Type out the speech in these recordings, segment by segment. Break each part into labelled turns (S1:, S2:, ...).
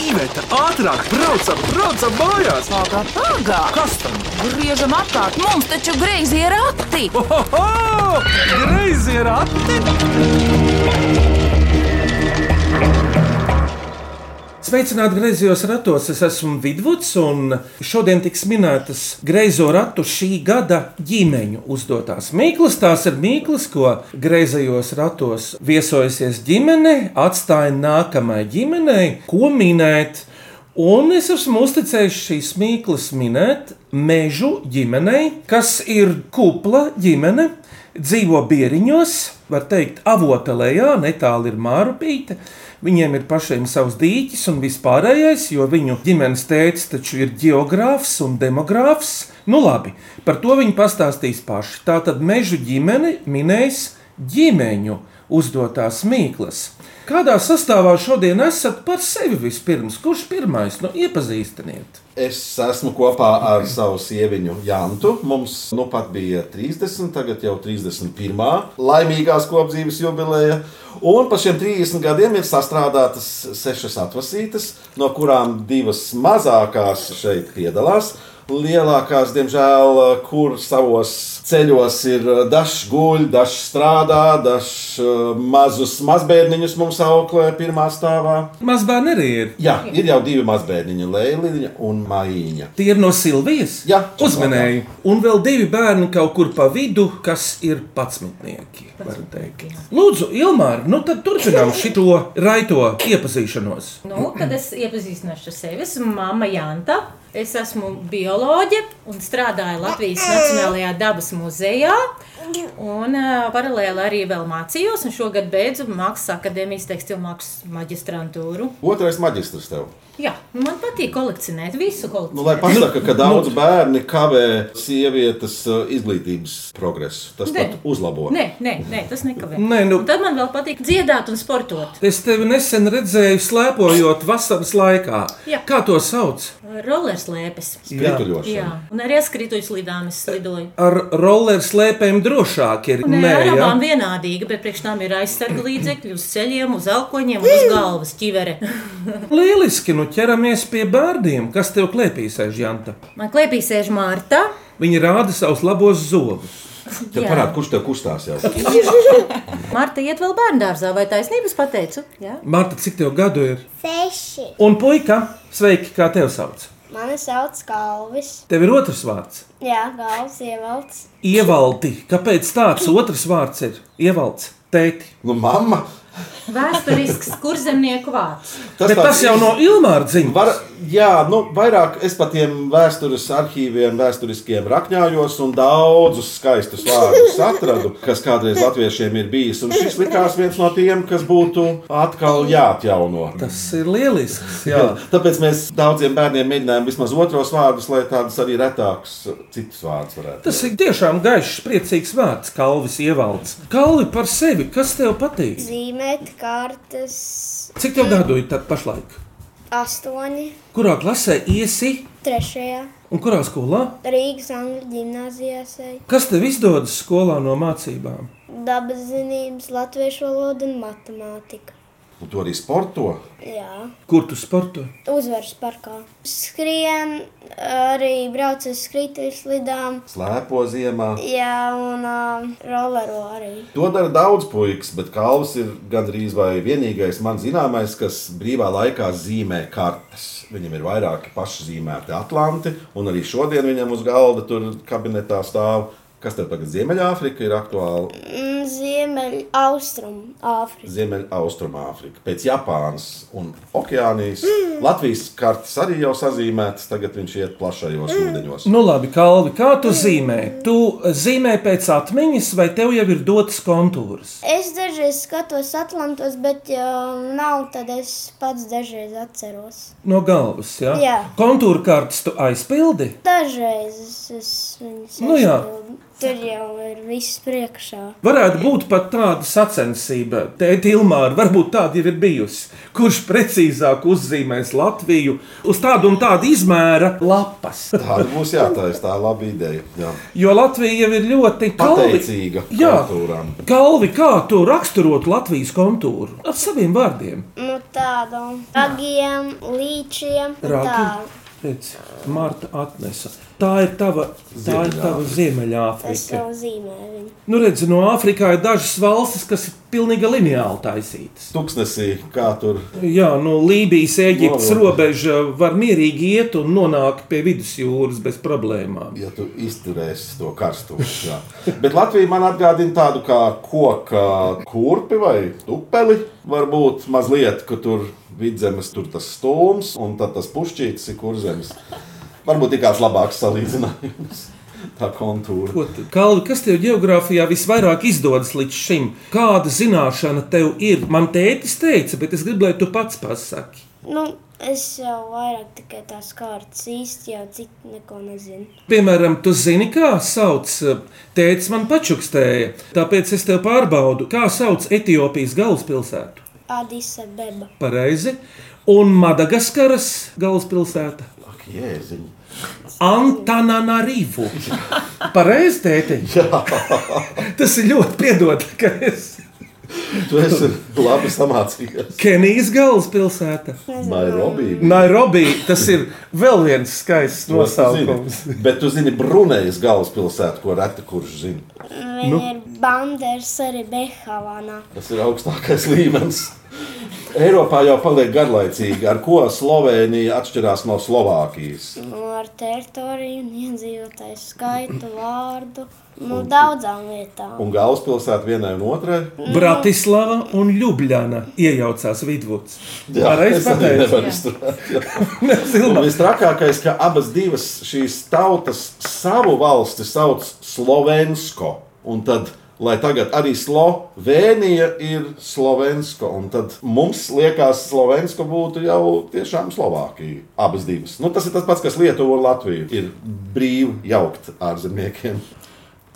S1: Iveta, ātrāk, braucam, braucam mājās!
S2: Pagā, pagā!
S1: Kas tam?
S2: Griežam apkārt, mums taču greizi ir akti!
S1: Ohoho! Greizi ir ati!
S3: Sveicināti griezos ratos, es esmu Vidvuds, un šodien tiks minētas griezo ratu šī gada ģimeņu uzdotās mīklas. Tās ir mīklas, ko griezajos ratos viesojusies ģimene, atstāja nākamajai ģimenei, ko minēt. Un es esmu uzticējis šīs mīklas minēt mežu ģimenei, kas ir kupla ģimene, dzīvo bieriņos, var teikt, avotelējā, netālu ir mārupīte. Viņiem ir pašiem savs dīķis un vispārējais, jo viņu ģimenes tēvs taču ir geogrāfs un demogrāfs. Nu labi, par to viņi pastāstīs paši. Tātad mežu ģimene minēs ģimeņu uzdotās mīklas. Kādā sastāvā šodien esat par sevi vispirms? Kurš pirmais? Nu, iepazīstiniet!
S4: Es esmu kopā ar savu sieviņu Jantu. Mums nu pat bija 30, tagad jau 31. laimīgās kopdzīves jubileja. Un par šiem 30 gadiem ir sastrādātas sešas atvasītas, no kurām divas mazākās šeit piedalās. Lielākās, diemžēl, kur savos ceļos ir dažs guļ, dažs strādā, dažs eh, mazus mazbērniņus mums auklē pirmā stāvā.
S3: Mazbērni arī ir.
S4: Jā, ir jau divi mazbērniņi, Leilija un Maija.
S3: Tie ir no Silvijas.
S4: Jā.
S3: uzmanēju. Un vēl divi bērni kaut kur pa vidu, kas ir patsmitnieki. varu teikt. Lūdzu, Ilmāra, nu tad turpinām šo raito iepazīšanos.
S5: Nu, kad es iepazīstināšu ar sevi, esmu Māma Janta. Es esmu bioloģe un strādāju Latvijas Nacionālajā dabas muzejā. Un, ā, paralēli arī vēl mācījos, un šogad beidzu Mākslas akadēmijas tekstilmākslas maģistrantūru.
S4: Otrais maģistrs tev.
S5: Jā, man patīk kolekcionēt visu
S4: Nu, lai
S5: kolekciju.
S4: pasakā, ka daudz bērni kavē sievietes uh, izglītības progresu. Tas
S5: Nē.
S4: pat uzlabo.
S5: Nē, nē, nē, tas nekavē.
S3: Nē, nu-
S5: Un Tad man vēl patīk dziedāt un sportot.
S3: Es tevi nesen redzēju, slēpojot vasaras laikā.
S5: Jā.
S3: Kā to sauc?
S5: Rollers lēpes. Jā,
S4: Sprituļošana.
S5: un arī es krituļu slidām es slidoju.
S3: Ar rolleru slēpēm drošāk ir.
S5: Nē, ar
S3: jā?
S5: abām vienādīgi, bet priekš tam ir aizsardzības līdzekļi uz ceļiem, uz alkoņiem un uz galvas ķivere.
S3: Lieliski, nu ķeramies pie bērniem. Kas tev klēpīs, Žanta?
S5: Man klēpī sēž Mārta.
S3: Viņi rāda savus labos zobus.
S4: Tev
S5: Jā.
S4: parāda, kurš tev kustās jau.
S5: Mārta iet vēl bērndārzā, vai taisnības pateicu? Jā.
S3: Marta, cik tev gadu ir?
S6: Seši.
S3: Un puika, sveiki, kā tev sauc?
S6: Mani sauc Kalvis.
S3: Tev ir otrs vārds.
S6: Jā, galvas ievelts.
S3: Ievaldi, kāpēc tāds otrs vārds ir? Ievalds, tēti.
S4: Nu, mamma,
S5: Vēsturisks kurzemnieku vārds.
S3: Tas, Bet tas jau no Ilmāra dzimta.
S4: Var, jā, nu, vairāk es par tiem vēstures arhīviem, vēsturiskiem rakņājos un daudzus skaistus vārdus atradu, kas kādreiz latviešiem ir bijis. Un šis likās viens no tiem, kas būtu atkal jāatjauno.
S3: Tas ir lielisks. Jā.
S4: Jā. Tāpēc mēs daudziem bērniem mēģinājām vismaz otros vārdus, lai tādas arī retākas citas vārdus varētu.
S3: Tas ir tiešām gaišs, priecīgs vārds, Kalvis Ievalds. Kalvi par sevi, kas tev patīk?
S6: Zīmēt kartes
S3: Cik tev gadu ir tad pašlaik?
S6: astoņi.
S3: Kurā klasē iesi
S6: Trešajā
S3: un kurā skolā?
S6: Rīgas angļu gimnāzijā sēž
S3: Kas tev izdodas skolā no mācībām?
S6: dabas zinības, latviešu valoda un matemātika.
S4: Un to arī sporto.
S6: Jā.
S3: Kur tu sporto?
S6: Uzvaras parkā. Skrien, arī braucu uz skrituļslidām.
S4: Slēpo ziemā.
S6: Jā, un uh, rolero arī.
S4: To dara daudz puikas, bet Kalvis ir gandrīz vai vienīgais man zināmais, kas brīvā laikā zīmē kartes. Viņam ir vairāki pašzīmēti atlanti, un arī šodien viņam uz galda tur kabinetā stāv. Kas tev tagad Ziemeļāfrika ir aktuāla?
S6: Mm, Ziemeļ, austrum, Āfrika.
S4: Ziemeļaustrumāfrika, pēc Japānas un Okeānijas. Latvijas kartes arī jau sazīmētas, tagad viņš iet plašajos ūdeņos.
S3: Nu, labi, Kalvi, kā tu zīmē? Tu zīmē pēc atmiņas, vai tev jau ir dotas kontūras?
S6: Es dažreiz skatos Atlantos, bet jau nav, tad es pats dažreiz atceros.
S3: No galvas, jā.
S6: Jā.
S3: Kontūra kartes tu aizpildi.
S6: Dažreiz es, es viņus
S3: Nu jā.
S6: aizpildu. Tur jau ir viss priekšā.
S3: Varētu būt pat tāda sacensība, tēti Ilmāra, varbūt tāda jau ir bijusi. Kurš precīzāk uzzīmēs Latviju uz tādu un tādu izmēra lapas?
S4: Tāda būs jātaisa, tā ir laba ideja. Jā.
S3: Jo Latvija jau ir ļoti kalvi-
S4: Pateicīga
S3: Jā,
S4: kontūram.
S3: Galvi, kā tu raksturotu Latvijas kontūru? Ar saviem vārdiem.
S6: Nu, tādam ragiem, līčiem. un
S3: Rāgi.
S6: tā.
S3: Redz, Marta atnesa. Tā ir tava, tā ir tava
S6: Es
S3: Ziemeļāfrika.
S6: jau zīmēju viņu.
S3: Nu, redz, no Āfrikā ir dažas valstis, kas ir pilnīgi lineāli taisītas.
S4: Tuksnesī, kā tur
S3: Jā, no Lībijas, Eģiptes
S4: Labi.
S3: robeža var mierīgi iet un nonākt pie vidusjūras bez problēmām.
S4: Ja tu izturēsi to karstumu, tad. Bet Latvija man atgādina tādu kā koka kurpi vai upeli. Varbūt mazliet, ka tur vidzemes tur tas stūms un tad tas pušķītis ir kurzemes. Varbūt ir kāds labāks salīdzinājums. Tā kontūra.
S3: Ko tu- Kalvi, kas tev geogrāfijā visvairāk izdodas līdz šim? Kāda zināšana tev ir? Man tētis teica, bet es gribu, lai tu pats pasaki.
S6: Nu, es jau vairāk tikai tās kārtas īsti jau cik neko nezinu.
S3: Piemēram, tu zini, kā sauc tēvs man pačukstēja. Tāpēc es tev pārbaudu, kā sauc Etiopijas galvaspilsētu.
S6: Adisa beba.
S3: Pareizi. Un Madagaskaras galvaspilsēta
S4: Ak, jēziņ.
S3: - Antananarivu. Pareizi, tēti. Tas ir ļoti piedod, ka es.
S4: Tu esi labi samācījies.
S3: Kenijas galvaspilsēta.
S4: Nairobi.
S3: Nairobi, tas ir vēl viens skaists
S4: To es zinu.
S3: nosaukums.
S4: Bet tu zini Brunejas galvaspilsētu, ko reti kurš zina.
S6: Viņa nu. ir banders arī Behavanā.
S4: Tas ir augstākais līmenis. Eiropā jau paliek garlaicīgi, ar ko Slovenija atšķirās no Slovākijas.
S6: Nu, ar teritoriju, un iedzīvotāju skaitu, vārdu. Nu, daudzām lietām.
S4: Un galvaspilsēta vienai un otrai.
S3: Bratislava un Ljubljana iejaucās vidus. Pareizi
S4: es arī
S3: pateicu.
S4: nevaru izturēt.
S3: Silva.
S4: Un Visstrakākais, ka abas divas šīs tautas savu valsti sauc Slovensko. Un tad, lai tagad arī Slovenija ir Slovensko, un tad mums liekas, Slovensko būtu jau tiešām Slovākija. Abas divas. Nu, tas ir tas pats, kas Lietuva un Latvija ir brīvi jaukt ārzemniekiem.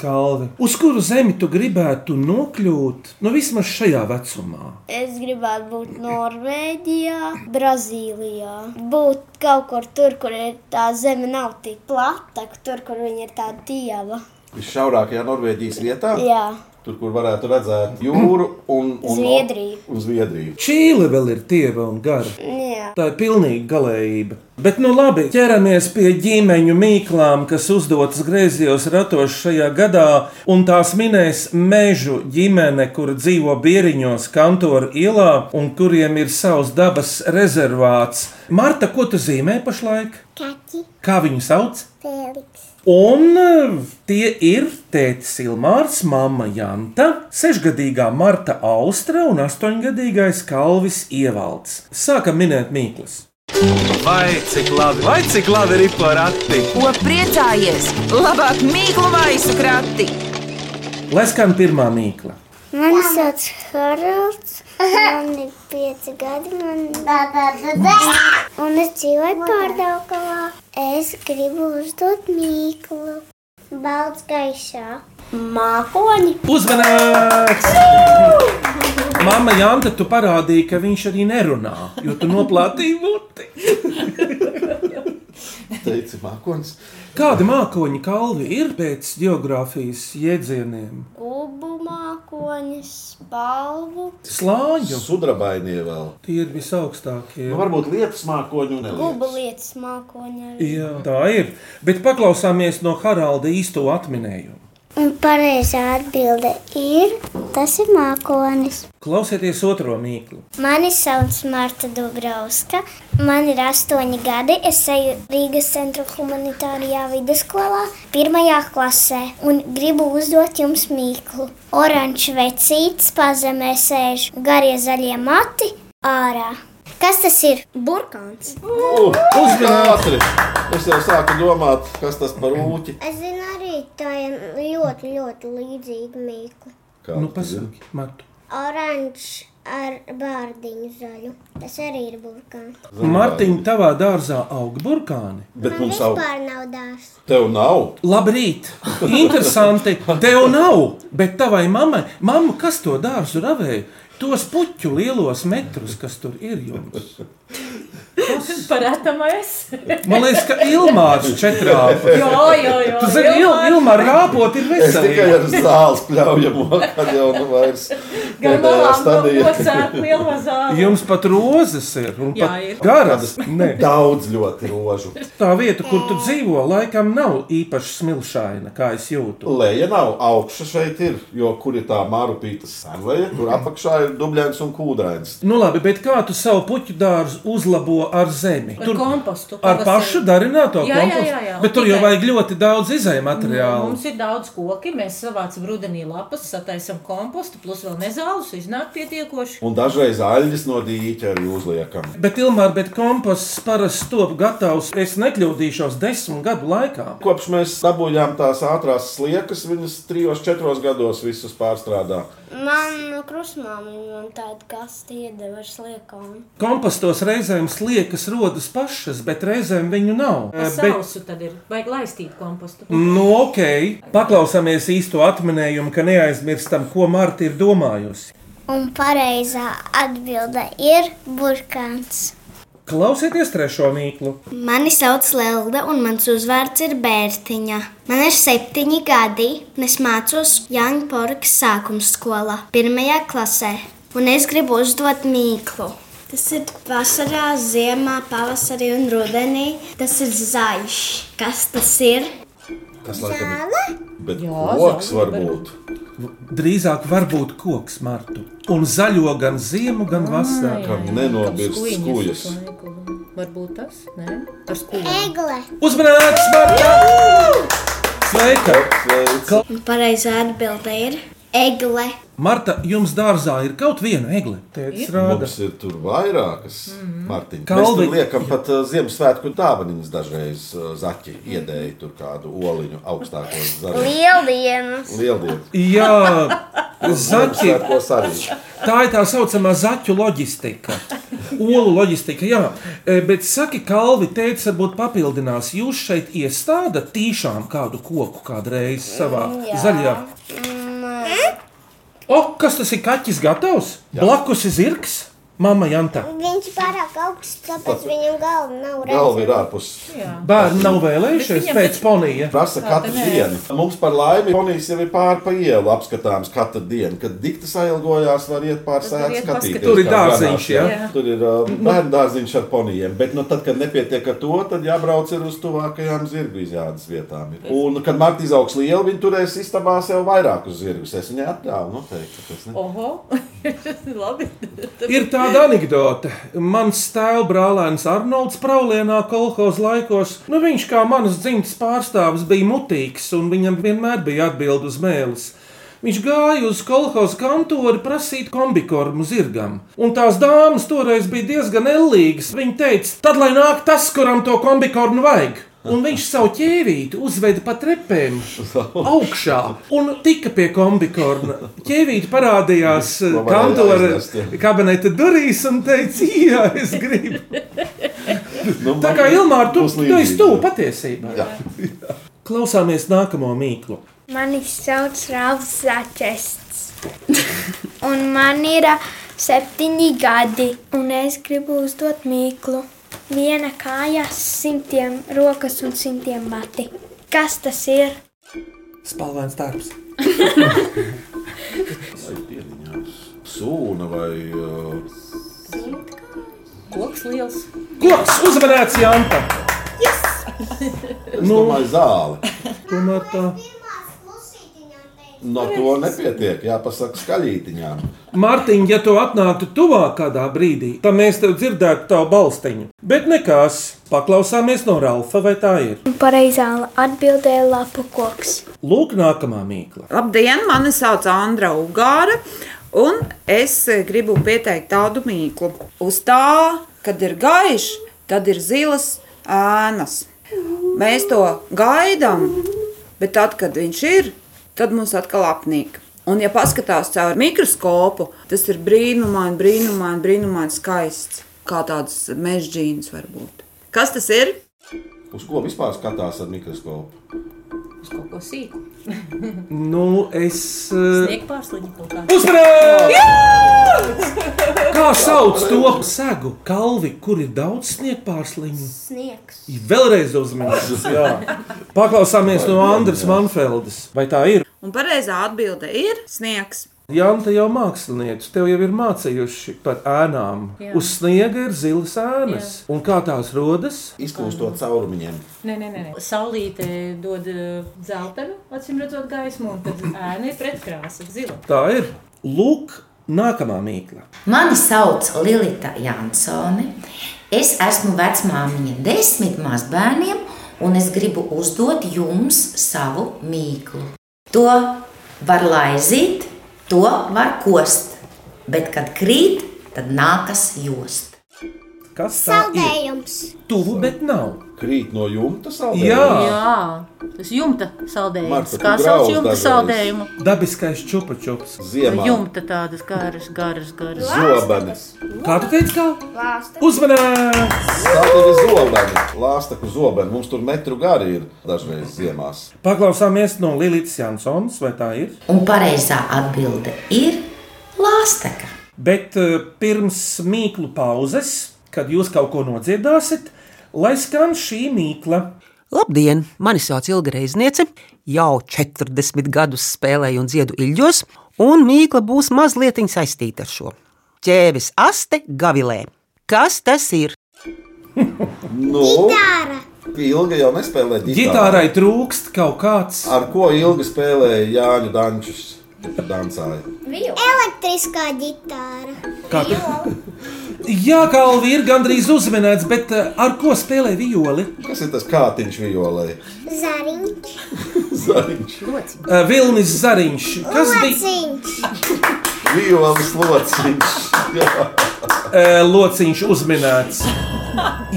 S3: Kalvi, uz kuru zemi tu gribētu nokļūt? Nu, vismaz šajā vecumā.
S6: Es gribētu būt Norvēģijā, Brazīlijā. Būt kaut kur tur, kur ir tā zeme nav tik plata, ka tur, kur viņa ir tā dieva.
S4: Visšaurākajā Norvēģijas vietā.
S6: Jā,
S4: Tur, kur varētu redzēt jūru un, un
S6: Zviedriju.
S4: Un Zviedriju.
S3: Čīle vēl ir tieva un gara.
S6: jā.
S3: Tā ir pilnīga galējība. Bet, nu labi, ķeramies pie ģimeņu mīklām, kas uzdotas griezījos ratos šajā gadā, un tās minēs mežu ģimene, kur dzīvo bieriņos, kantora ielā, un kuriem ir savs dabas rezervāts. Marta, ko tu zīmē pašlaik?
S6: Kaķi,
S3: Kā viņu sauc?
S6: Feliks,
S3: Un eh, tie ir tēta Silmārs, māma Janta, sešgadīgā Marta Austra un astoņgadīgais Kalvis Ievalds. Sākam minēt mīklas.
S1: Vai cik labi, vai cik labi ir porati?
S2: Ko priecājies? Labāk mīklu maisu krati.
S3: Lai skan pirmā mīkla.
S7: Mani sauc Haralds. Man ir pieci gadi. Man... Un es dzīvoju pārdaukalā. Es gribu uzdot mīklu. Balts gaišā.
S6: mākoņi,
S3: Uzmanīgs! Māma Janta, tu parādīji, ka viņš arī nerunā, jo tu noplatīji muti.
S4: Teici, mākonis.
S3: Kādi mākoņi kalvi ir pēc geogrāfijas jēdzieniem?
S6: ubu mākoņi, spalvu.
S3: Slāņu
S4: Sudrabainie vēl.
S3: tie ir visaugstākie.
S4: Nu, varbūt lietas mākoņu
S6: Guba
S4: nelietas.
S6: lietas mākoņi. arī.
S3: Jā, tā ir. Bet paklausāmies no Haralda īsto atminējumu.
S7: Un pareizā atbilde ir tas ir mākonis.
S3: Klausieties otro mīklu.
S7: Mani sauc Marta Dubravska. Man ir astoņi gadi. Es eju Rīgas centra humanitārajā vidusskolā, pirmajā klasē, un gribu uzdot jums mīklu. Oranžs vecīts pazemē sēž garie zaļie mati ārā. Kas tas ir?
S6: Burkāns.
S4: Uh, Uzmanīgi! Es jau sāku domāt, kas tas par rūķi.
S7: Es zinu, arī tā ir ļoti, ļoti līdzīga mīkla.
S4: Kā
S3: Nu,
S4: tu zini?
S3: pasaki, Martu.
S7: Oranžs
S6: ar bārdiņu zaļu. Tas arī ir burkāns.
S3: Mārtiņa, tavā dārzā aug burkāni.
S4: Bet
S6: Man
S4: mums nav.
S6: vispār nav dārsts.
S4: Tev nav.
S3: Labrīt! Interesanti, tev nav, bet tavai mammai, mamma, kas to dārzu ravēja? Tos puķu lielos metrus, kas tur ir jums.
S5: Parātamais.
S3: Man liekas, ka Ilmārs četrāpa.
S5: Jā, jā, jā.
S3: Tu zini, Il, Ilmār rāpot ir
S4: Es tikai
S3: veselīgi.
S4: ar zāles pļaujamo, kad jau nu vairs pēdējā stadijā.
S5: Lielā zālē.
S3: Jums pat rozes ir un
S5: Jā,
S3: pat
S5: ir.
S3: garas. Nē,
S4: Daudz ļoti rožu.
S3: tā vieta, kur tu dzīvo, laikam nav īpaši smilšaina, kā es jūtu.
S4: Leja nav, augša šeit ir, jo kur ir tā mārupīta senleja, tur apakšā ir dubļains un kūdains.
S3: Nu labi, bet kā tu savu puķu dārzu uzlabo ar zemi?
S5: Ar kompostu,
S3: Ar
S5: pavasarī.
S3: pašu darināto
S5: Jā, jā,
S3: kompostu.
S5: jā, jā.
S3: Bet tur jau
S5: Tikai- Mm,
S3: vajag ļoti daudz izēju materiālu.
S5: Mums ir daudz koki, mēs savācam rudenī lapas, sataisam kompostu, plus vēl nezālus, iznāk pietiekoši.
S4: Un dažreiz aļģis no dīķa arī uzliekam.
S3: Bet, Ilmār, bet komposts parasti top gatavs. Es nekļūdīšos desmit gadu laikā.
S4: Kopš mēs dabūjām tās ātrās sliekas, viņas trijos, četros gados visus pārstrādā.
S6: Man krusmāmiņa man tāda kaste iedeva ar sliekām.
S3: Kompostos reizēm sliekas rodas pašas, bet reizēm viņu nav. Eh, Bet,
S5: Sausu tad ir, vajag laistīt kompostu.
S3: nu, ok, paklausāmies īsto atminējumu, ka neaizmirstam, ko Marta ir domājusi.
S7: Un pareizā atbilde ir burkāns.
S3: Klausieties trešo mīklu.
S7: Mani sauc Lelda, un mans uzvārds ir Bērtiņa. Man ir septiņi gadi, un es mācos Jāņporkas sākuma skolā, pirmajā klasē. Un es gribu uzdot mīklu. Tas ir vasarā, ziemā, pavasarī un rudenī. Tas ir zaļš. Kas tas ir?
S4: Tas laikam ir.
S6: Zāle?
S4: Bet
S5: Jā,
S4: koks
S5: zāle
S4: var
S5: var
S4: būt.
S3: Drīzāk var būt koks, Marta. Un zaļo gan ziemu, gan vasarā.
S4: Kam nenobirst skujas.
S5: Varbūt tas, nē, ar skūjiem.
S6: Egle.
S3: Uzmanīgs, Marta! Sveika!
S4: Sveic.
S7: Un pareizā atbilde ir egle.
S3: Marta, jums dārzā ir kaut viena egle. Tētis rāda.
S4: Mums ir tur vairākas Martiņas. Mēs
S3: Kalvi-
S4: tur liekam pat uh, Ziemassvētku dāvanas dažreiz uh, zaķi iedēja tur kādu oliņu augstākos zaļos.
S6: Lieldienas.
S4: Lieldienas.
S3: Jā, zaķi.
S4: Ziemassvētkos arī.
S3: Tā ir tā saucamā zaķu loģistika. Olu loģistika, jā. E, Bet, saki, Kalvi, teica, varbūt papildinās, jūs šeit iestādāt tīšām kādu koku kādreiz savā jā. zaļajā. O, kas tas ir? Kaķis gatavs? Jā. Blakus ir zirgs, mama Janta.
S6: Viņš pārāk augsts, tāpēc viņam galva nav
S4: Galva ir ārpus.
S3: Bērni nav vēlējušies
S5: Bet viņam-
S3: pēc ponija.
S4: Prasa katru dienu. Mums par laimi ponijas jau ir pāri pa ielu apskatāms katru dienu. Kad dikti sailgojās, var iet pāri
S5: var
S4: sēdz
S5: iet Mhm.
S4: skatīties.
S5: paskatīties. Tur
S3: ir
S4: kā
S3: dārziņš,
S4: ganās,
S3: jā.
S5: Jā.
S4: Tur ir uh, bērnu dārziņš ar ponijiem. Bet, nu, tad, kad nepietiek ar to, tad jābrauc ir uz tuvākajām zirgu izjādes vietām. Ir. Un, kad Marta izaugs liela, viņa turēs istabā sev vairākus zirgus. Es viņai atļāvu noteikti. tas ne-
S5: Oho, labi.
S3: Ir tāda anekdote. Mans tēvs brālēns Arnolds Praulienā kolekcijas laikos, nu viņš kā manas dzimtas pārstāvis bija mutīgs un viņam vienmēr bija atbild uz mēlis. Viņš gāja uz kolekcijas kantori prasīt kombikormu zirgam, un tās dāmas toreiz bija diezgan ellīgas. Viņa teica, tad lai nāk tas, kuram to kombikornu vajag. Un viņš savu ķēvīti uzveda pa trepēm augšā un tika pie kombikorna. Ķēvīti parādījās eh,
S4: Ko varēja aiznest,
S3: kantora
S4: jā.
S3: kabineta durīs un teica, jā, es gribu.
S4: Nu,
S3: Tā kā
S4: man-
S3: Ilmāra, tu,
S4: būs
S3: tu esi
S4: līdzīgi.
S3: tuvu patiesībā. Jā. Klausāmies nākamo mīklu.
S8: Mani sauc Rāvs Zaķests. Un man ir ā, septiņi gadi, un es gribu uzdot mīklu. Viena kāja, simtiem rokas un simtiem mati. Kas tas ir?
S3: Spalvains darbs.
S4: Vai pieliņās? Sūna vai uh,
S5: Koks liels.
S3: Koks uzmanēts Janta.
S4: es
S3: Nu-
S4: domāju, zāle.
S3: Tomēr tā.
S4: No to nepietiek. Jāpasaka skaļītiņām.
S3: Mārtiņ, ja tu atnāktu tuvāk kādā brīdī, tad mēs tev dzirdētu tavu balstiņu. Bet nekās, paklausāmies no Ralfa, vai tā ir.
S8: Un pareizā atbildēja lapu koks.
S3: Lūk, nākamā mīkla.
S2: Labdien, mani sauc Andra Ugāra, un es eh, gribu pieteikt tādu mīklu. Uz tā, kad ir gaišs, tad ir zilas ēnas. Mēs to gaidām, bet tad, kad viņš ir, tad mums atkal apnīk. Un, ja paskatās caur mikroskopu, tas ir brīnumaini, brīnumaini, brīnumaini skaists. Kā tāds mežģīns var būt. Kas tas ir?
S4: Uz ko vispār skatās ar mikroskopu?
S5: Uz kaut ko sīku.
S3: Nu, es. eh,
S5: Sniegu pārsliņu kaut kā.
S3: Uzmanīgi! Kā sauc to segu kalvi, kur ir daudz sniegpārsliņu?
S6: Sniegs.
S3: Ja Vēlreiz uzmanības. jā. Paklausāmies no Andras Manfeldes. Vai tā ir?
S2: Un pareizā atbilde ir sniegs.
S3: Jā, un te jau mākslinieci, tev jau ir mācījuši par ēnām. Jā.
S5: Jā.
S3: Uz sniega ir zilas ēnas. Un kā tās rodas?
S4: Izkūstot caurumiņiem.
S5: Nē, nē, nē. nē. Saulītē dod eh, dzeltenu, acīm redzot, gaismu, un tad ēna ir pretkrāsa, zila.
S3: Tā ir. Lūk, nākamā mīkla.
S9: Mani sauc Lilita Jansone. Es esmu vecmāmiņa desmit mazbērniem, un es gribu uzdot jums savu mīklu. To var laizīt, to var kost, bet kad krīt, tad nākas jost.
S3: Kas tā ir?
S6: Saldējums.
S3: Tuvu, bet nav.
S4: Krīt no jumta saldējums.
S3: Jā.
S5: Jā, tas jumta saldējums.
S4: Marta, tu
S5: kā sauc
S4: grauž
S5: jumta
S4: dažreiz.
S5: saldējumu?
S3: Dabiskais čupačups.
S4: Ziemā.
S5: Jumta tādas garas, garas, garas.
S4: Zobenis.
S3: Kā tu teici, kā? Uzmanīgi!
S4: Tātad zobeni. Lāstaku zobeni. Mums tur metru gari ir dažreiz ziemās.
S3: Paklausāmies no Lilijas Jansons, vai tā ir?
S9: Un pareizā atbilde ir lāsteka.
S3: Bet eh, pirms mīklu pauzes, kad jūs kaut ko nodziedāsiet, lai skan šī mīkla.
S10: Labdien! Mani sauc Ilga Reizniece. Jau 40 gadus spēlēju un dziedu ilgos, un mīkla būs mazliet saistīta ar šo. Ķēvis aste gavilē. Kas tas ir?
S4: Nu, Ilga jau nespēlē ģitāru.
S3: Gitārai trūkst kaut kāds.
S4: Ar ko Ilga spēlēja Jāņu Dančus? Dancāja.
S6: Elektriskā ģitāra.
S3: Kā tu... Jā, kalvi ir gandrīz uzminēts, bet eh, ar ko spēlē violi?
S4: Kas ir tas kātiņš violē?
S6: Zariņš.
S4: Zariņš.
S3: Eh, Vilnis Zariņš. Kas bija
S6: Lociņš.
S4: Violas lociņš. Jā.
S3: eh, lociņš uzminēts?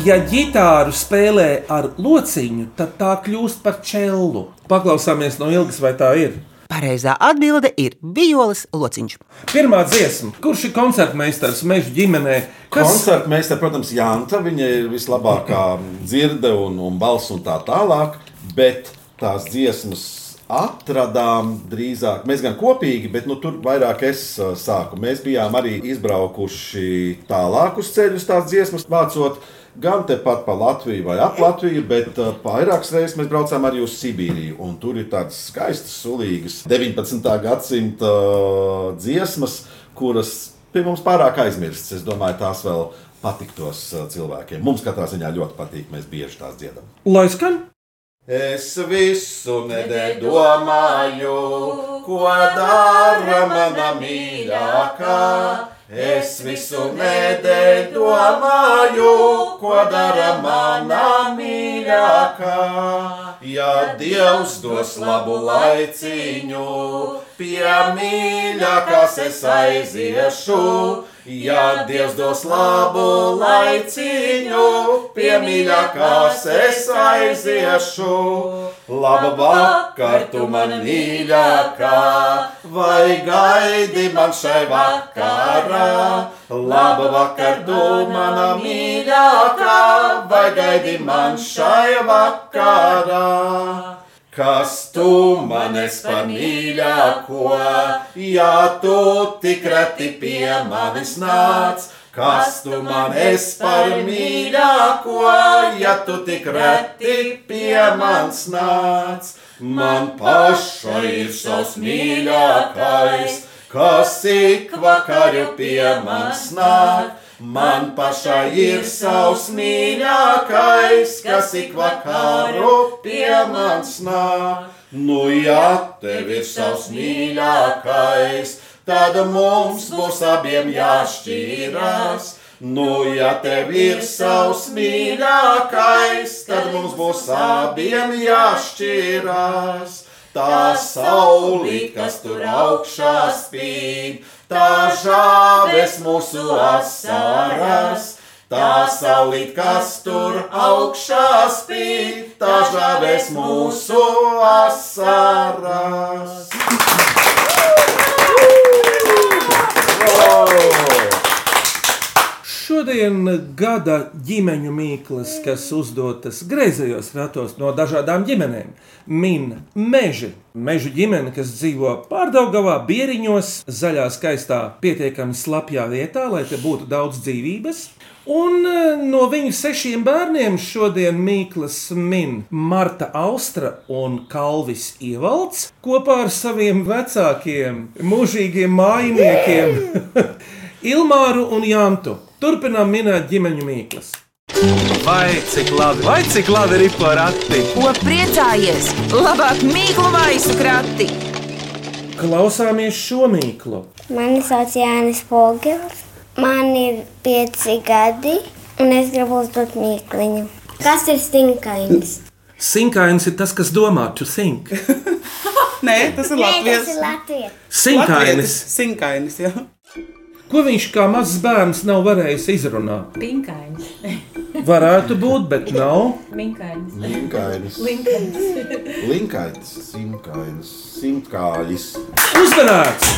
S3: Ja ģitāru spēlē ar lociņu, tad tā kļūst par čellu. Paklausāmies no ilgas, vai tā ir.
S10: Pareizā atbilde ir violas lociņš.
S3: Pirmā dziesma, kurš ir koncertmeistars meža ģimenē? Kas,
S4: Koncerta mēs te, protams, Jānta, viņa ir vislabākā dzirde un, un balss un tā tālāk, bet tās dziesmas atradām drīzāk. Mēs gan kopīgi, bet nu, tur vairāk es uh, sāku. Mēs bijām arī izbraukuši tālākus ceļus tās dziesmas vācot. Gan tepat pa Latviju vai ap Latviju, bet uh, vairākas reizes mēs braucām arī uz Sibīriju. un Tur ir tādas skaistas, sulīgas 19. gadsimta uh, dziesmas, kuras pie mums pārāk aizmirstas. Es domāju, tās vēl patiktos uh, cilvēkiem. Mums katrā ziņā ļoti patīk, mēs bieži tās dziedam.
S3: lai skan?
S4: Es visu nedēļu domāju, ko dara mana mīļākā. Es visu nedēļu domāju, ko dara mana mīļākā. Ja Dievs dos labu laiciņu, pie mīļākās es aiziešu. Ja Dievs dos labu laiciņu, pie mīļākās es aiziešu. Labu vakar, tu man mīļākā, vai gaidi man šai vakarā. Labu vakar, tu mana mīļākā, vai gaidi man šai vakarā. Kas tu manis par mīļāko, ja tu tik reti pie manis nāc? Kas tu manis par mīļāko, ja tu tik reti pie manis nāc? Man pašai ir savs mīļākais, kas ik vakaru pie manis nāk. Man pašai ir savs mīļākais, kas ik vakaru pie manis nāk. Nu, ja tev ir savs mīļākais, tad mums būs abiem jāšķīrās. Nu, ja tev ir savs mīļākais, tad mums būs abiem jāšķīrās. Tā saulīt, kas tur augšā spīd, tā žāves mūsu asaras. Tā saulīt, kas tur augšā spīd, tā žāves mūsu asaras.
S3: Šodien gada ģimeņu mīklas, kas uzdotas griezējos ratos no dažādām ģimenēm, min meži. Meža ģimene, kas dzīvo pārdaugavā, bieriņos, zaļā, skaistā, pietiekami slapjā vietā, lai te būtu daudz dzīvības. Un eh, no viņu sešiem bērniem šodien Mīklas min Marta Austra un Kalvis Ievalds kopā ar saviem vecākiem, mūžīgiem mājiniekiem. Ilmāru un Jantu. Turpinām minēt ģimeņu mīklas.
S1: Vai cik labi, vai cik labi ir porati?
S11: Ko priecājies? Labāk mīklu maisu krati!
S3: Klausāmies šo mīklu.
S6: Mani sauc Jānis Pogels. Man ir pieci gadi, un es gribu uzdot mīkliņu. Kas ir stinkainis?
S3: Sinkains ir tas, kas domā, tu sink.
S12: Nē, tas ir
S6: Nē, tas
S12: Latvijas.
S6: ir Latvijas.
S3: Sinkainis.
S12: Sinkainis, jā.
S3: Ko viņš kā mazs bērns nav varējis izrunāt?
S5: Pinkainis.
S3: Varētu būt, bet nav.
S5: Minkainis.
S4: Linkainis.
S5: Linkainis.
S4: Linkainis. Simkainis. Simtkājis.
S3: Uzmanīts!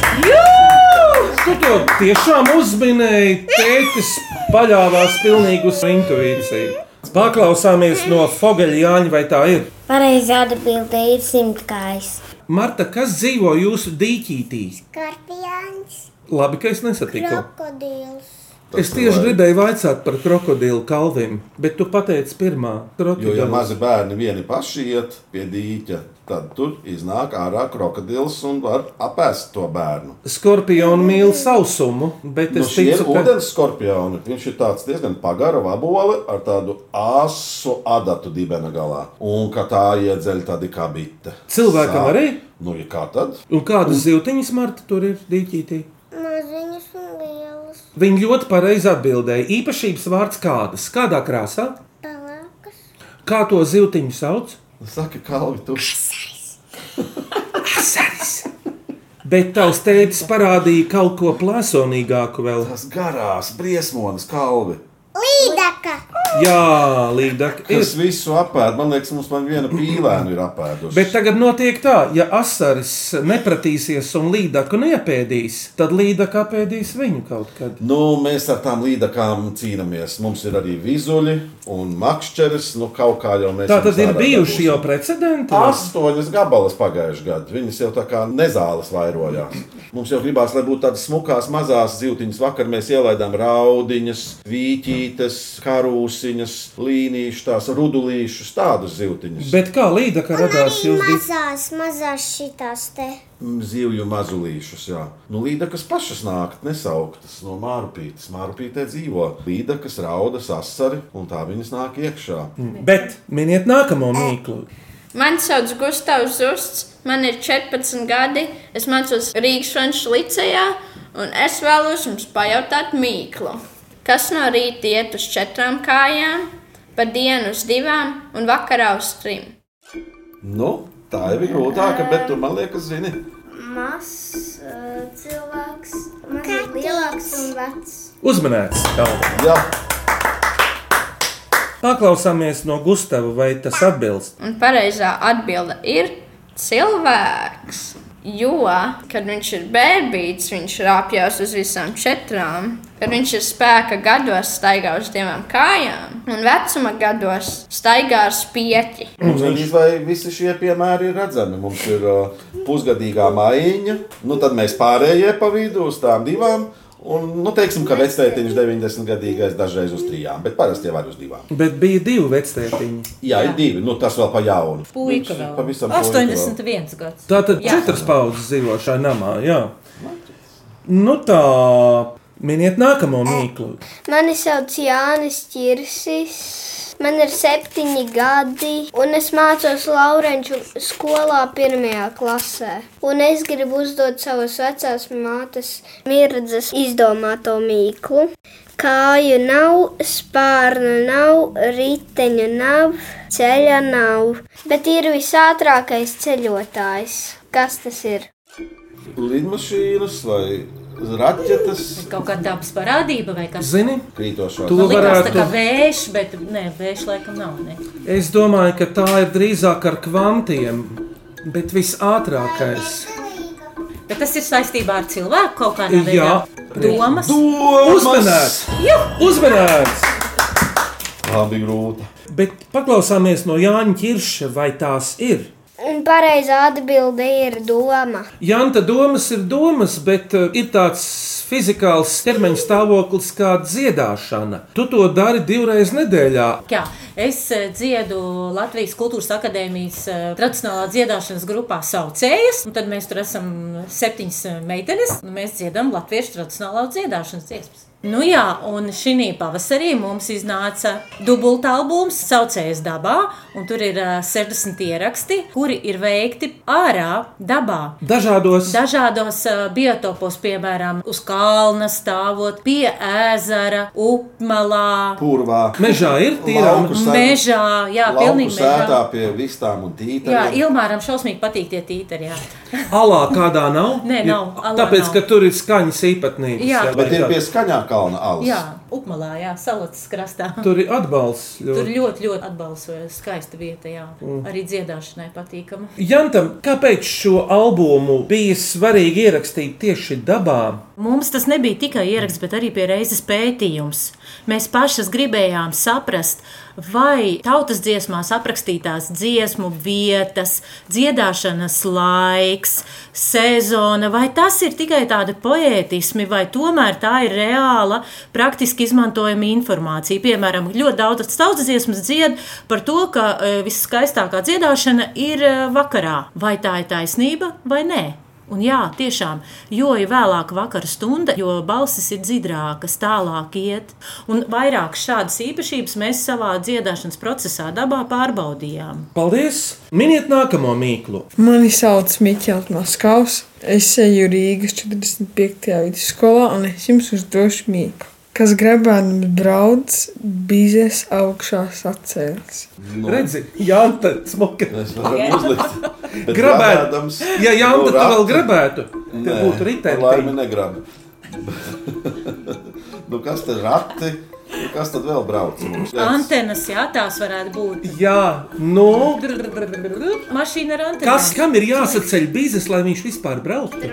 S3: Tu to tiešām uzminēji. Tētis paļāvās pilnīgi uz intuīciju. Paklausāmies no Fogeļa Jāņa, vai tā ir?
S6: Pareizā atbildē ir simtkājs.
S3: Marta, kas dzīvo jūsu dīķītī?
S7: Skorpions,
S3: Labi, ka es nesatiku.
S7: krokodils,
S3: Es tieši gribēju jautāt par krokodilu kalviem, bet tu pateici pirmā.
S4: Jo, ja
S3: Krokodils.
S4: mazi bērni vieni paši iet pie dīķa, tad tur iznāk ārā krokodils un var apēst to bērnu.
S3: Skorpionu mīl sausumu, bet
S4: Nu,
S3: es
S4: šie ir
S3: ticu, ka
S4: ūdens skorpioni. Viņš ir tāds diezgan pagara vaboli ar tādu asu adatu dibena galā. Un ka tā iedzeļ tādi kā bite.
S3: Cilvēkam
S4: Sāp.
S3: arī?
S4: Nu, ja kā tad?
S3: Un kādas zivtiņas Marta tur ir dīķītī?
S7: maziņas un lielas,
S3: Viņa ļoti pareizi atbildēja. Īpašības vārds kādas? Kādā krāsā?
S7: pelēkas,
S3: Kā to zivtiņu sauc?
S4: Saka, Kalvi, tu.
S3: Bet tavs tēvs parādīja kaut ko plāsonīgāku vēl.
S4: Tas garās, briesmonis, kalvi.
S7: līdaka,
S3: Jā, līdāk ir.
S4: Es visu apēdu. Man liekas, mums man viena pīlēna ir apēdusi.
S3: Bet tagad notiek tā, ja asaris nepratīsies un līdaku neapēdīs, tad līdaka apēdīs viņu kaut kad.
S4: Nu, mēs ar tām līdakām cīnāmies. Mums ir arī vizuļi un makšķeris. Nu, kaut kā jau mēs
S3: Tā tad
S4: jums
S3: ir
S4: ārā
S3: bijuši jau
S4: dabūsim.
S3: precedenti.
S4: Astoņas gabalas pagājušajā gadā. Viņas jau tā kā nezāles vairojās. Mums jau gribās, lai būtu tādas smukās, mazās zīltiņas. Vakar mēs ielaidām raudiņas, vītītes, karūsiņas, līnijas, tās rudulīšas, tādus zīltiņus.
S3: Bet kā līdaka radās
S7: arī
S3: jūs divi?
S7: mazās, mazās šitās te.
S4: Zivju mazulīšus, jā. Nu, līdakas pašas nāk, nesauktas no mārupītes. Mārupītē dzīvo līdakas, raudas, asari, un tā viņas nāk iekšā.
S3: Bet miniet nākamo mīklu.
S8: Mani sauc Gustavs Zusts, man ir 14 gadi, es mācos Rīgas Frančijas licejā, un es vēlos jums pajautāt mīklu. Kas no rīta iet uz četrām kājām, pa dienu uz divām un vakarā uz trim?
S4: Nu, tā ir grūtāka, bet tur man liekas, zini,
S6: Mazs uh, cilvēks, mazliet lielāks un vecs.
S3: Uzmanēts! Kalvi.
S4: jā,
S3: Paklausāmies no Gustava, vai tas atbilst.
S8: Un pareizā atbilde ir cilvēks. Jo, kad viņš ir bērns, viņš rāpjas uz visām četrām. Kad viņš ir spēka gados, staigā uz divām kājām, un vecuma gados staigā ar spieķi.
S4: mums gandrīz vai visi šie piemēri ir redzami. Mums ir uh, pusgadīgā mājiņa, nu tad mēs pārējie pa vidu uz tām divām. Un, nu, teiksim, ka vecētiņš 90 gadīgais dažreiz uz trijām, bet parasti jau var uz divām.
S3: Bet bija divi vecētiņi.
S4: Jā, ir divi, nu tas vēl pa jaunu.
S5: Puika
S4: Viņš ir
S5: vēl.
S4: Pavisam puika vēl.
S5: 81 gads.
S3: Tā tad
S5: Jā.
S3: četras paudzes dzīvo šajā namā. Jā. Nu tā, miniet nākamo mīklu.
S6: Mani sauc Jānis Čirsis. Man ir septiņi gadi, un es mācos Laurenču skolā pirmajā klasē. Un es gribu uzdot savas vecās mātes mirdzes izdomāto mīklu. Kāju nav, spārnu nav, riteņu nav, ceļa nav, bet ir visātrākais ceļotājs. Kas tas ir?
S4: lidmašīnas vai raķetes.
S5: Kaut kā dabas parādība vai kas
S3: Zini,
S4: Krītošās.
S3: Tu-
S5: Man Likās tā kā
S3: Nu, varētu-
S5: vējš, bet nē, vējš laikam nav. Ne.
S3: es domāju, ka tā ir drīzāk ar kvantiem, bet visātrākais.
S5: Bet tas ir saistībā ar cilvēku kaut kādā veidā.
S3: Jā.
S5: Domas.
S3: Uzmanīgs! Uzmanīgs!
S4: Tā bija grūta.
S3: Bet paklausāmies no Jāņa Čirša, vai tās ir.
S6: Un pareizā atbilde ir doma.
S3: Janta domas ir domas, bet uh, ir tāds fizikāls ķermeņa stāvoklis kā dziedāšana. Tu to dari divreiz nedēļā.
S5: Jā, es eh, dziedu Latvijas Kultūras Akadēmijas eh, tradicionālā dziedāšanas grupā saucējas, un tad mēs tur esam septiņas eh, meitenes, un mēs dziedam latviešu tradicionālā dziedāšanas dziesmas. Nu jā, un šī pavasarī mums iznāca dubultā albums Saucējas dabā, un tur ir eh, 60 ieraksti, kuri ir veikti ārā dabā.
S3: Dažādos
S5: Dažādos uh, biotopos, piemēram, uz kalna stāvot, pie ezera, upmalā,
S4: Purvā.
S3: Mežā ir tīrā
S4: Lauku sētā-
S5: Mežā, jā,
S4: lauku
S5: pilnīgi
S4: sētā
S5: mežā.
S4: pie vistām un tītām.
S5: Jā, Ilmāram šausmīgi patīk tie tītari. Jā.
S3: alā kādā nav.
S5: Nē,
S3: Ir-
S5: nav, alā
S3: Tāpēc,
S5: nav.
S3: ka tur ir skaņas īpatnības.
S5: Jā.
S4: Bet ir
S3: vai
S4: pie
S3: tā?
S4: skaņā kalna alus.
S5: jā, upmalā, jā, salats krastā.
S3: Tur ir atbalsts.
S5: Tur
S3: Ļoti.
S5: ļoti, ļoti atbalsoja skaista vieta, jā.
S3: Mm.
S5: Arī dziedāšanai patīkama.
S3: Jantam, kāpēc šo albumu bija svarīgi ierakstīt tieši dabā?
S5: Mums tas nebija tikai ieraksts, bet arī pie reizes pētījums. Mēs pašas gribējām saprast, vai tautas dziesmās aprakstītās dziesmu vietas, dziedāšanas laiks, sezona, vai tas ir tikai tādi poētismi, vai tomēr tā ir reāla, praktiski izmantojama informācija. Piemēram, ļoti daudz tautas dziesmas dzied par to, ka e, visskaistākā dziedāšana ir e, vakarā. Vai tā ir taisnība vai nē? Un jā, tiešām, jo ir vēlāk vakara stunda, jo balsis ir dziļākas, tālāk iet. Un vairāk šādas īpašības mēs savā dziedāšanas procesā dabā pārbaudījām.
S3: Paldies! Miniet nākamo mīklu.
S13: Mani sauc Mikls Maskavs. Es eju Rīgas 45. vidusskolā un es jums uzdošu mīklu. Kas grabēnam draudz, bizēs augšā sacēlis.
S4: Nu.
S3: No. Redzi, Janta, smuka.
S4: varam uzlikt. Bet
S3: Grabēdams.
S4: grabēdams
S3: Ja Janta
S4: no
S3: tā vēl
S4: rata-
S3: grabētu, tad
S4: Nē,
S3: būtu ritēji.
S4: Laimi negrab. nu, kas tad rati? Nu, Kas tad vēl brauc? mums?
S5: Antenas, jā, tās varētu būt.
S3: Jā, nu.
S5: Mašīna ar antenām.
S3: Kas kam ir jāsaceļ bizes, lai viņš vispār brauktu?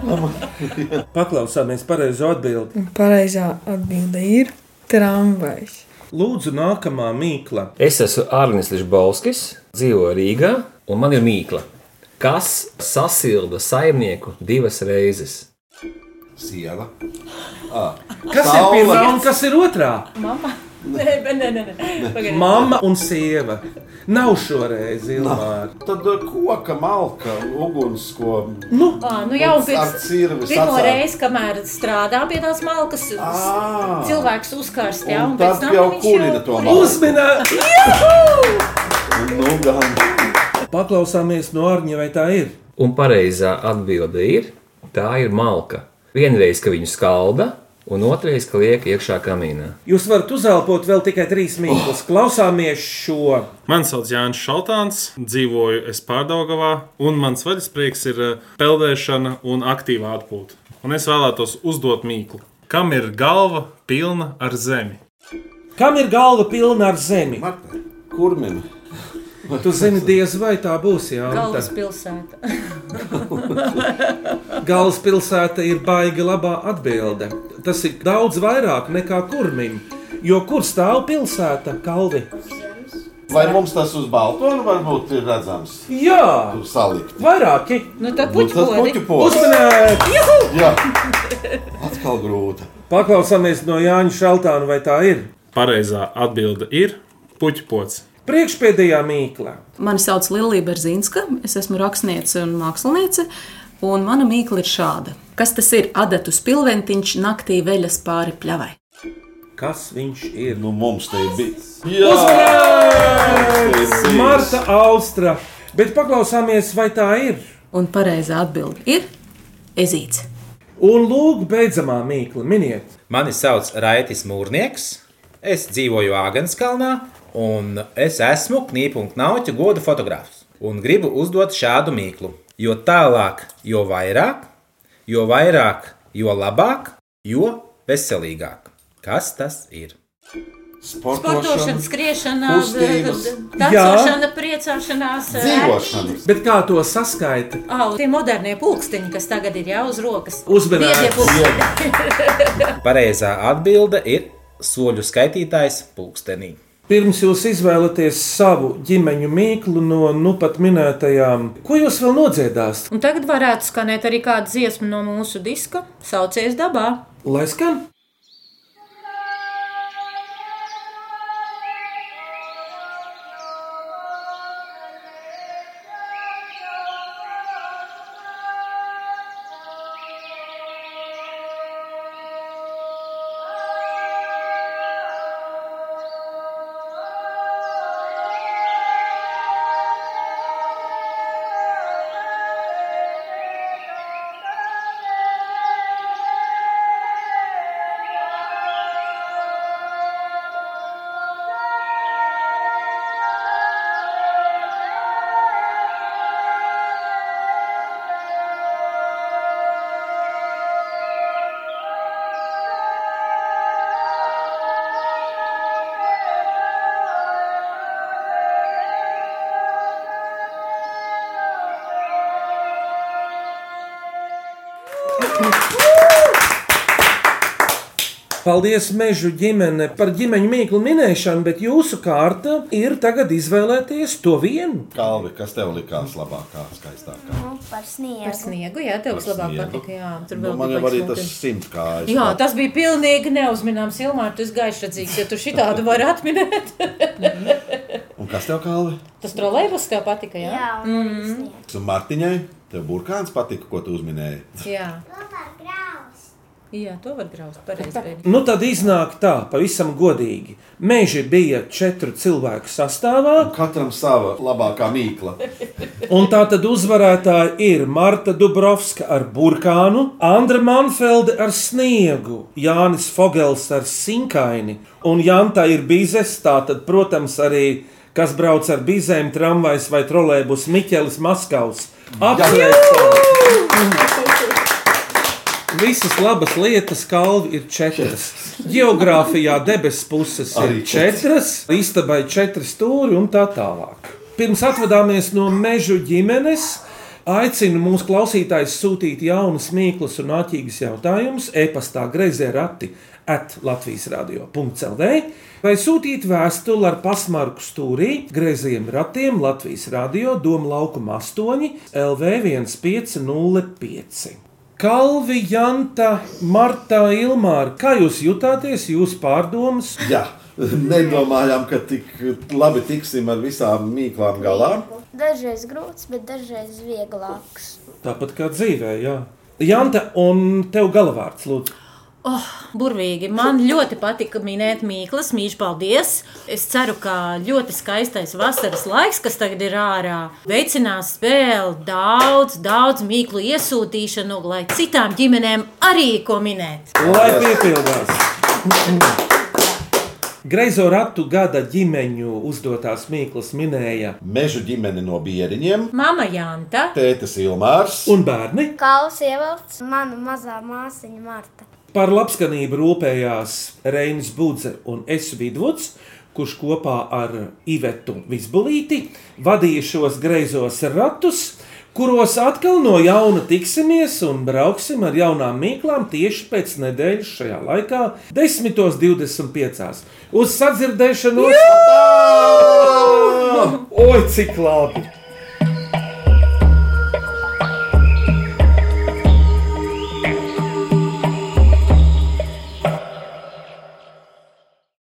S3: Uzmanīgi! Paklausāmies pareizo atbildi.
S13: Un pareizā atbilde ir tramvajs.
S3: Lūdzu, nākamā mīkla.
S14: Es esmu Arnēs Lišbauskis, dzīvoju Rīgā, un man ir mīkla. Kas sasilda saimnieku divas reizes?
S4: Sieva. Ah.
S3: Kas ir
S4: Saule.
S3: pirmā un kas ir otrā?
S5: Mama. Nē, bet nē, nē, nē. Pagaidi.
S3: Mama un sieva. Nav šoreiz ilgāk.
S4: Tad uh, koka malka, uguns, ko.
S3: Nu,
S5: Ā, nu jau
S4: Ar
S5: pirms
S4: cirvi
S5: pirmo
S4: sacēla.
S5: reizi, kamēr strādā pie tās malkas,
S4: Ā.
S5: cilvēks uzkarst, jā,
S4: Un
S5: un
S4: tad
S5: pēc tam
S4: jau
S5: viņš
S4: kulina to malku.
S3: Uzminēt!
S4: Nu, gan.
S3: Paklausāmies no Arņa, vai tā ir?
S14: Un pareizā atbilde ir: tā ir malka. Vienreiz, ka viņu skalda, un otrreiz, ka liek iekšā kamīnā.
S3: Jūs varat uzelpot vēl tikai trīs mīklas. Klausāmies šo.
S15: Mani Oh. sauc Jānis Šaltāns, dzīvoju es Pārdaugavā, un mans vaļasprieks ir eh, peldēšana un aktīva atpūta. Un es vēlētos uzdot mīklu. Kam ir galva pilna ar zemi?
S3: Kam ir galva pilna ar zemi?
S4: Kurmim?
S3: Tu zini, diez vai tā būs. Jā,
S5: Galvaspilsēta.
S3: Galvaspilsēta ir baigi labā atbilde. Tas ir daudz vairāk nekā kurmim. Jo kur stāv pilsēta, Kalvi?
S4: Vai mums tas uz baltonu varbūt ir redzams?
S3: Jā,
S4: tur salikt.
S3: Vairāki.
S5: Nu, tad
S4: Nu, tas puķu pods.
S3: Uzmanēt!
S4: Jā, atkal grūti.
S3: Paklausāmies no Jāņa Šaltāna, vai tā ir?
S15: Pareizā atbilde ir puķpots.
S3: Priekšpēdējā mīkla.
S16: Mani sauc Lilija Berzinska, es esmu rakstniece un māksliniece, un mana mīkla ir šāda. Kas tas ir? Adatu spilventiņš naktī veļas pāri pļavai.
S3: Kas viņš ir?
S4: Nu, mums te ir bijis.
S3: Uzmanīgs!
S4: Te ir bijis.
S3: Marta Austra! Bet paklausāmies, vai tā ir?
S16: Un pareizā atbilde ir ezīts.
S3: Un lūk, beidzamā mīkla, miniet.
S17: Mani sauc Raitas Mūrnieks, es dzīvoju Āgānskalnā, un es esmu knipu un knauķu godu fotografs. Un gribu uzdot šādu mīklu. Jo tālāk, jo vairāk, jo vairāk, jo labāk, jo veselīgāk. Kas tas ir?
S5: Sportošana, skriešana,
S4: kustības.
S5: dancošana, priecāšanās,
S3: Bet kā to saskaita?
S5: Oh, tie modernie pulksteņi, kas tagad ir jau uz rokas.
S3: Uzmanīgi.
S5: Biedie pulksteņi.
S17: Pareizā atbilde ir soļu skaitītājs pulkstenī.
S3: Pirms jūs izvēlaties savu ģimeņu mīklu no nu pat minētajām, ko jūs vēl nodziedāsiet?
S5: Un tagad varētu skanēt arī kāda dziesma no mūsu diska, saucies dabā.
S3: Lai skan! Paldies, mežu ģimene, par ģimeņu mīklu minēšanu, bet jūsu kārta ir tagad izvēlēties to vienu.
S4: Kalvi, kas tev likās labākā, skaistākā?
S7: Par sniegu.
S5: Par sniegu, jā, tev
S4: Par
S5: vislabāk
S4: sniegu.
S5: patika. Jā, tur
S4: Nu,
S5: vēl
S4: man
S5: bija
S4: jau arī
S5: pats
S4: tas
S5: smuki.
S4: simts kājas.
S5: Jā, tas bija pilnīgi neuzmanāms. Ilmār, tu esi gaišradzīgs, ja tu šitādu vari atminēt.
S4: Un kas tev kalvi?
S5: Tas trolēbus tev patika, jā? Jā. Mm.
S4: Un Martiņai, tev burkāns patika, ko tu uzminēji.
S5: jā. Jā, to var graust. Pareizi. Bērni.
S3: Nu, tad iznāk tā, pavisam godīgi. Meži bija četru cilvēku sastāvā.
S4: Katram sava labākā mīkla.
S3: Un tā tad uzvarētāja ir Marta Dubrovska ar burkānu, Andra Manfelde ar sniegu, Jānis Fogels ar sinkaini. Un Janta ir bizes, tātad, protams, arī kas brauc ar bizēm, tramvajs vai trolēbus Miķelis Maskavs. Apsveicam! Visas labas lietas, kalvi ir četras. Geogrāfijā debesu puses ir
S4: Arī
S3: četras, istabai četri stūri un tā tālāk. Pirms atvadāmies no meža ģimenes. Aicinu mūsu klausītājus sūtīt jaunus, mīklus un āķīgus jautājumus e-pastā greizē rati at Latvijas radio.clv vai sūtīt vēstuli ar pasmarku stūrī greizējiem ratiem Latvijas radio Doma laukuma 8 LV1505. Kalvi, Janta, Marta, Ilmāra, kā jūs jutāties, jūsu pārdomas?
S4: Jā, nedomājām, ka tik labi tiksim ar visām mīklām galā.
S7: Dažreiz grūts, bet dažreiz vieglāks.
S3: Tāpat kā dzīvē, jā. Janta, un tev galvārds, lūdzu.
S5: Oh, burvīgi. Man ļoti patika minēt mīklas, mīļš, paldies. Es ceru, ka ļoti skaistais vasaras laiks, kas tagad ir ārā, veicinās vēl daudz, daudz mīklu iesūtīšanu, lai citām ģimenēm arī ko minēt.
S3: Lai piepildās! Greizo ratu gada ģimeņu uzdotās mīklas minēja
S4: Mežu ģimene no bieriņiem,
S5: Mama Janta,
S4: tēta Ilmārs
S3: un bērni.
S7: Kalns ievelts, mana mazā māsiņa Marta.
S3: Par labskanību rūpējās Reinis Budze un Es Vidvuds, kurš kopā ar Ivetu Visbulīti vadīja šos greizos ratus, kuros atkal no jauna tiksimies un brauksim ar jaunām mīklām tieši pēc nedēļas šajā laikā, 10.25. Uz sadzirdēšanos! Oi, cik labi!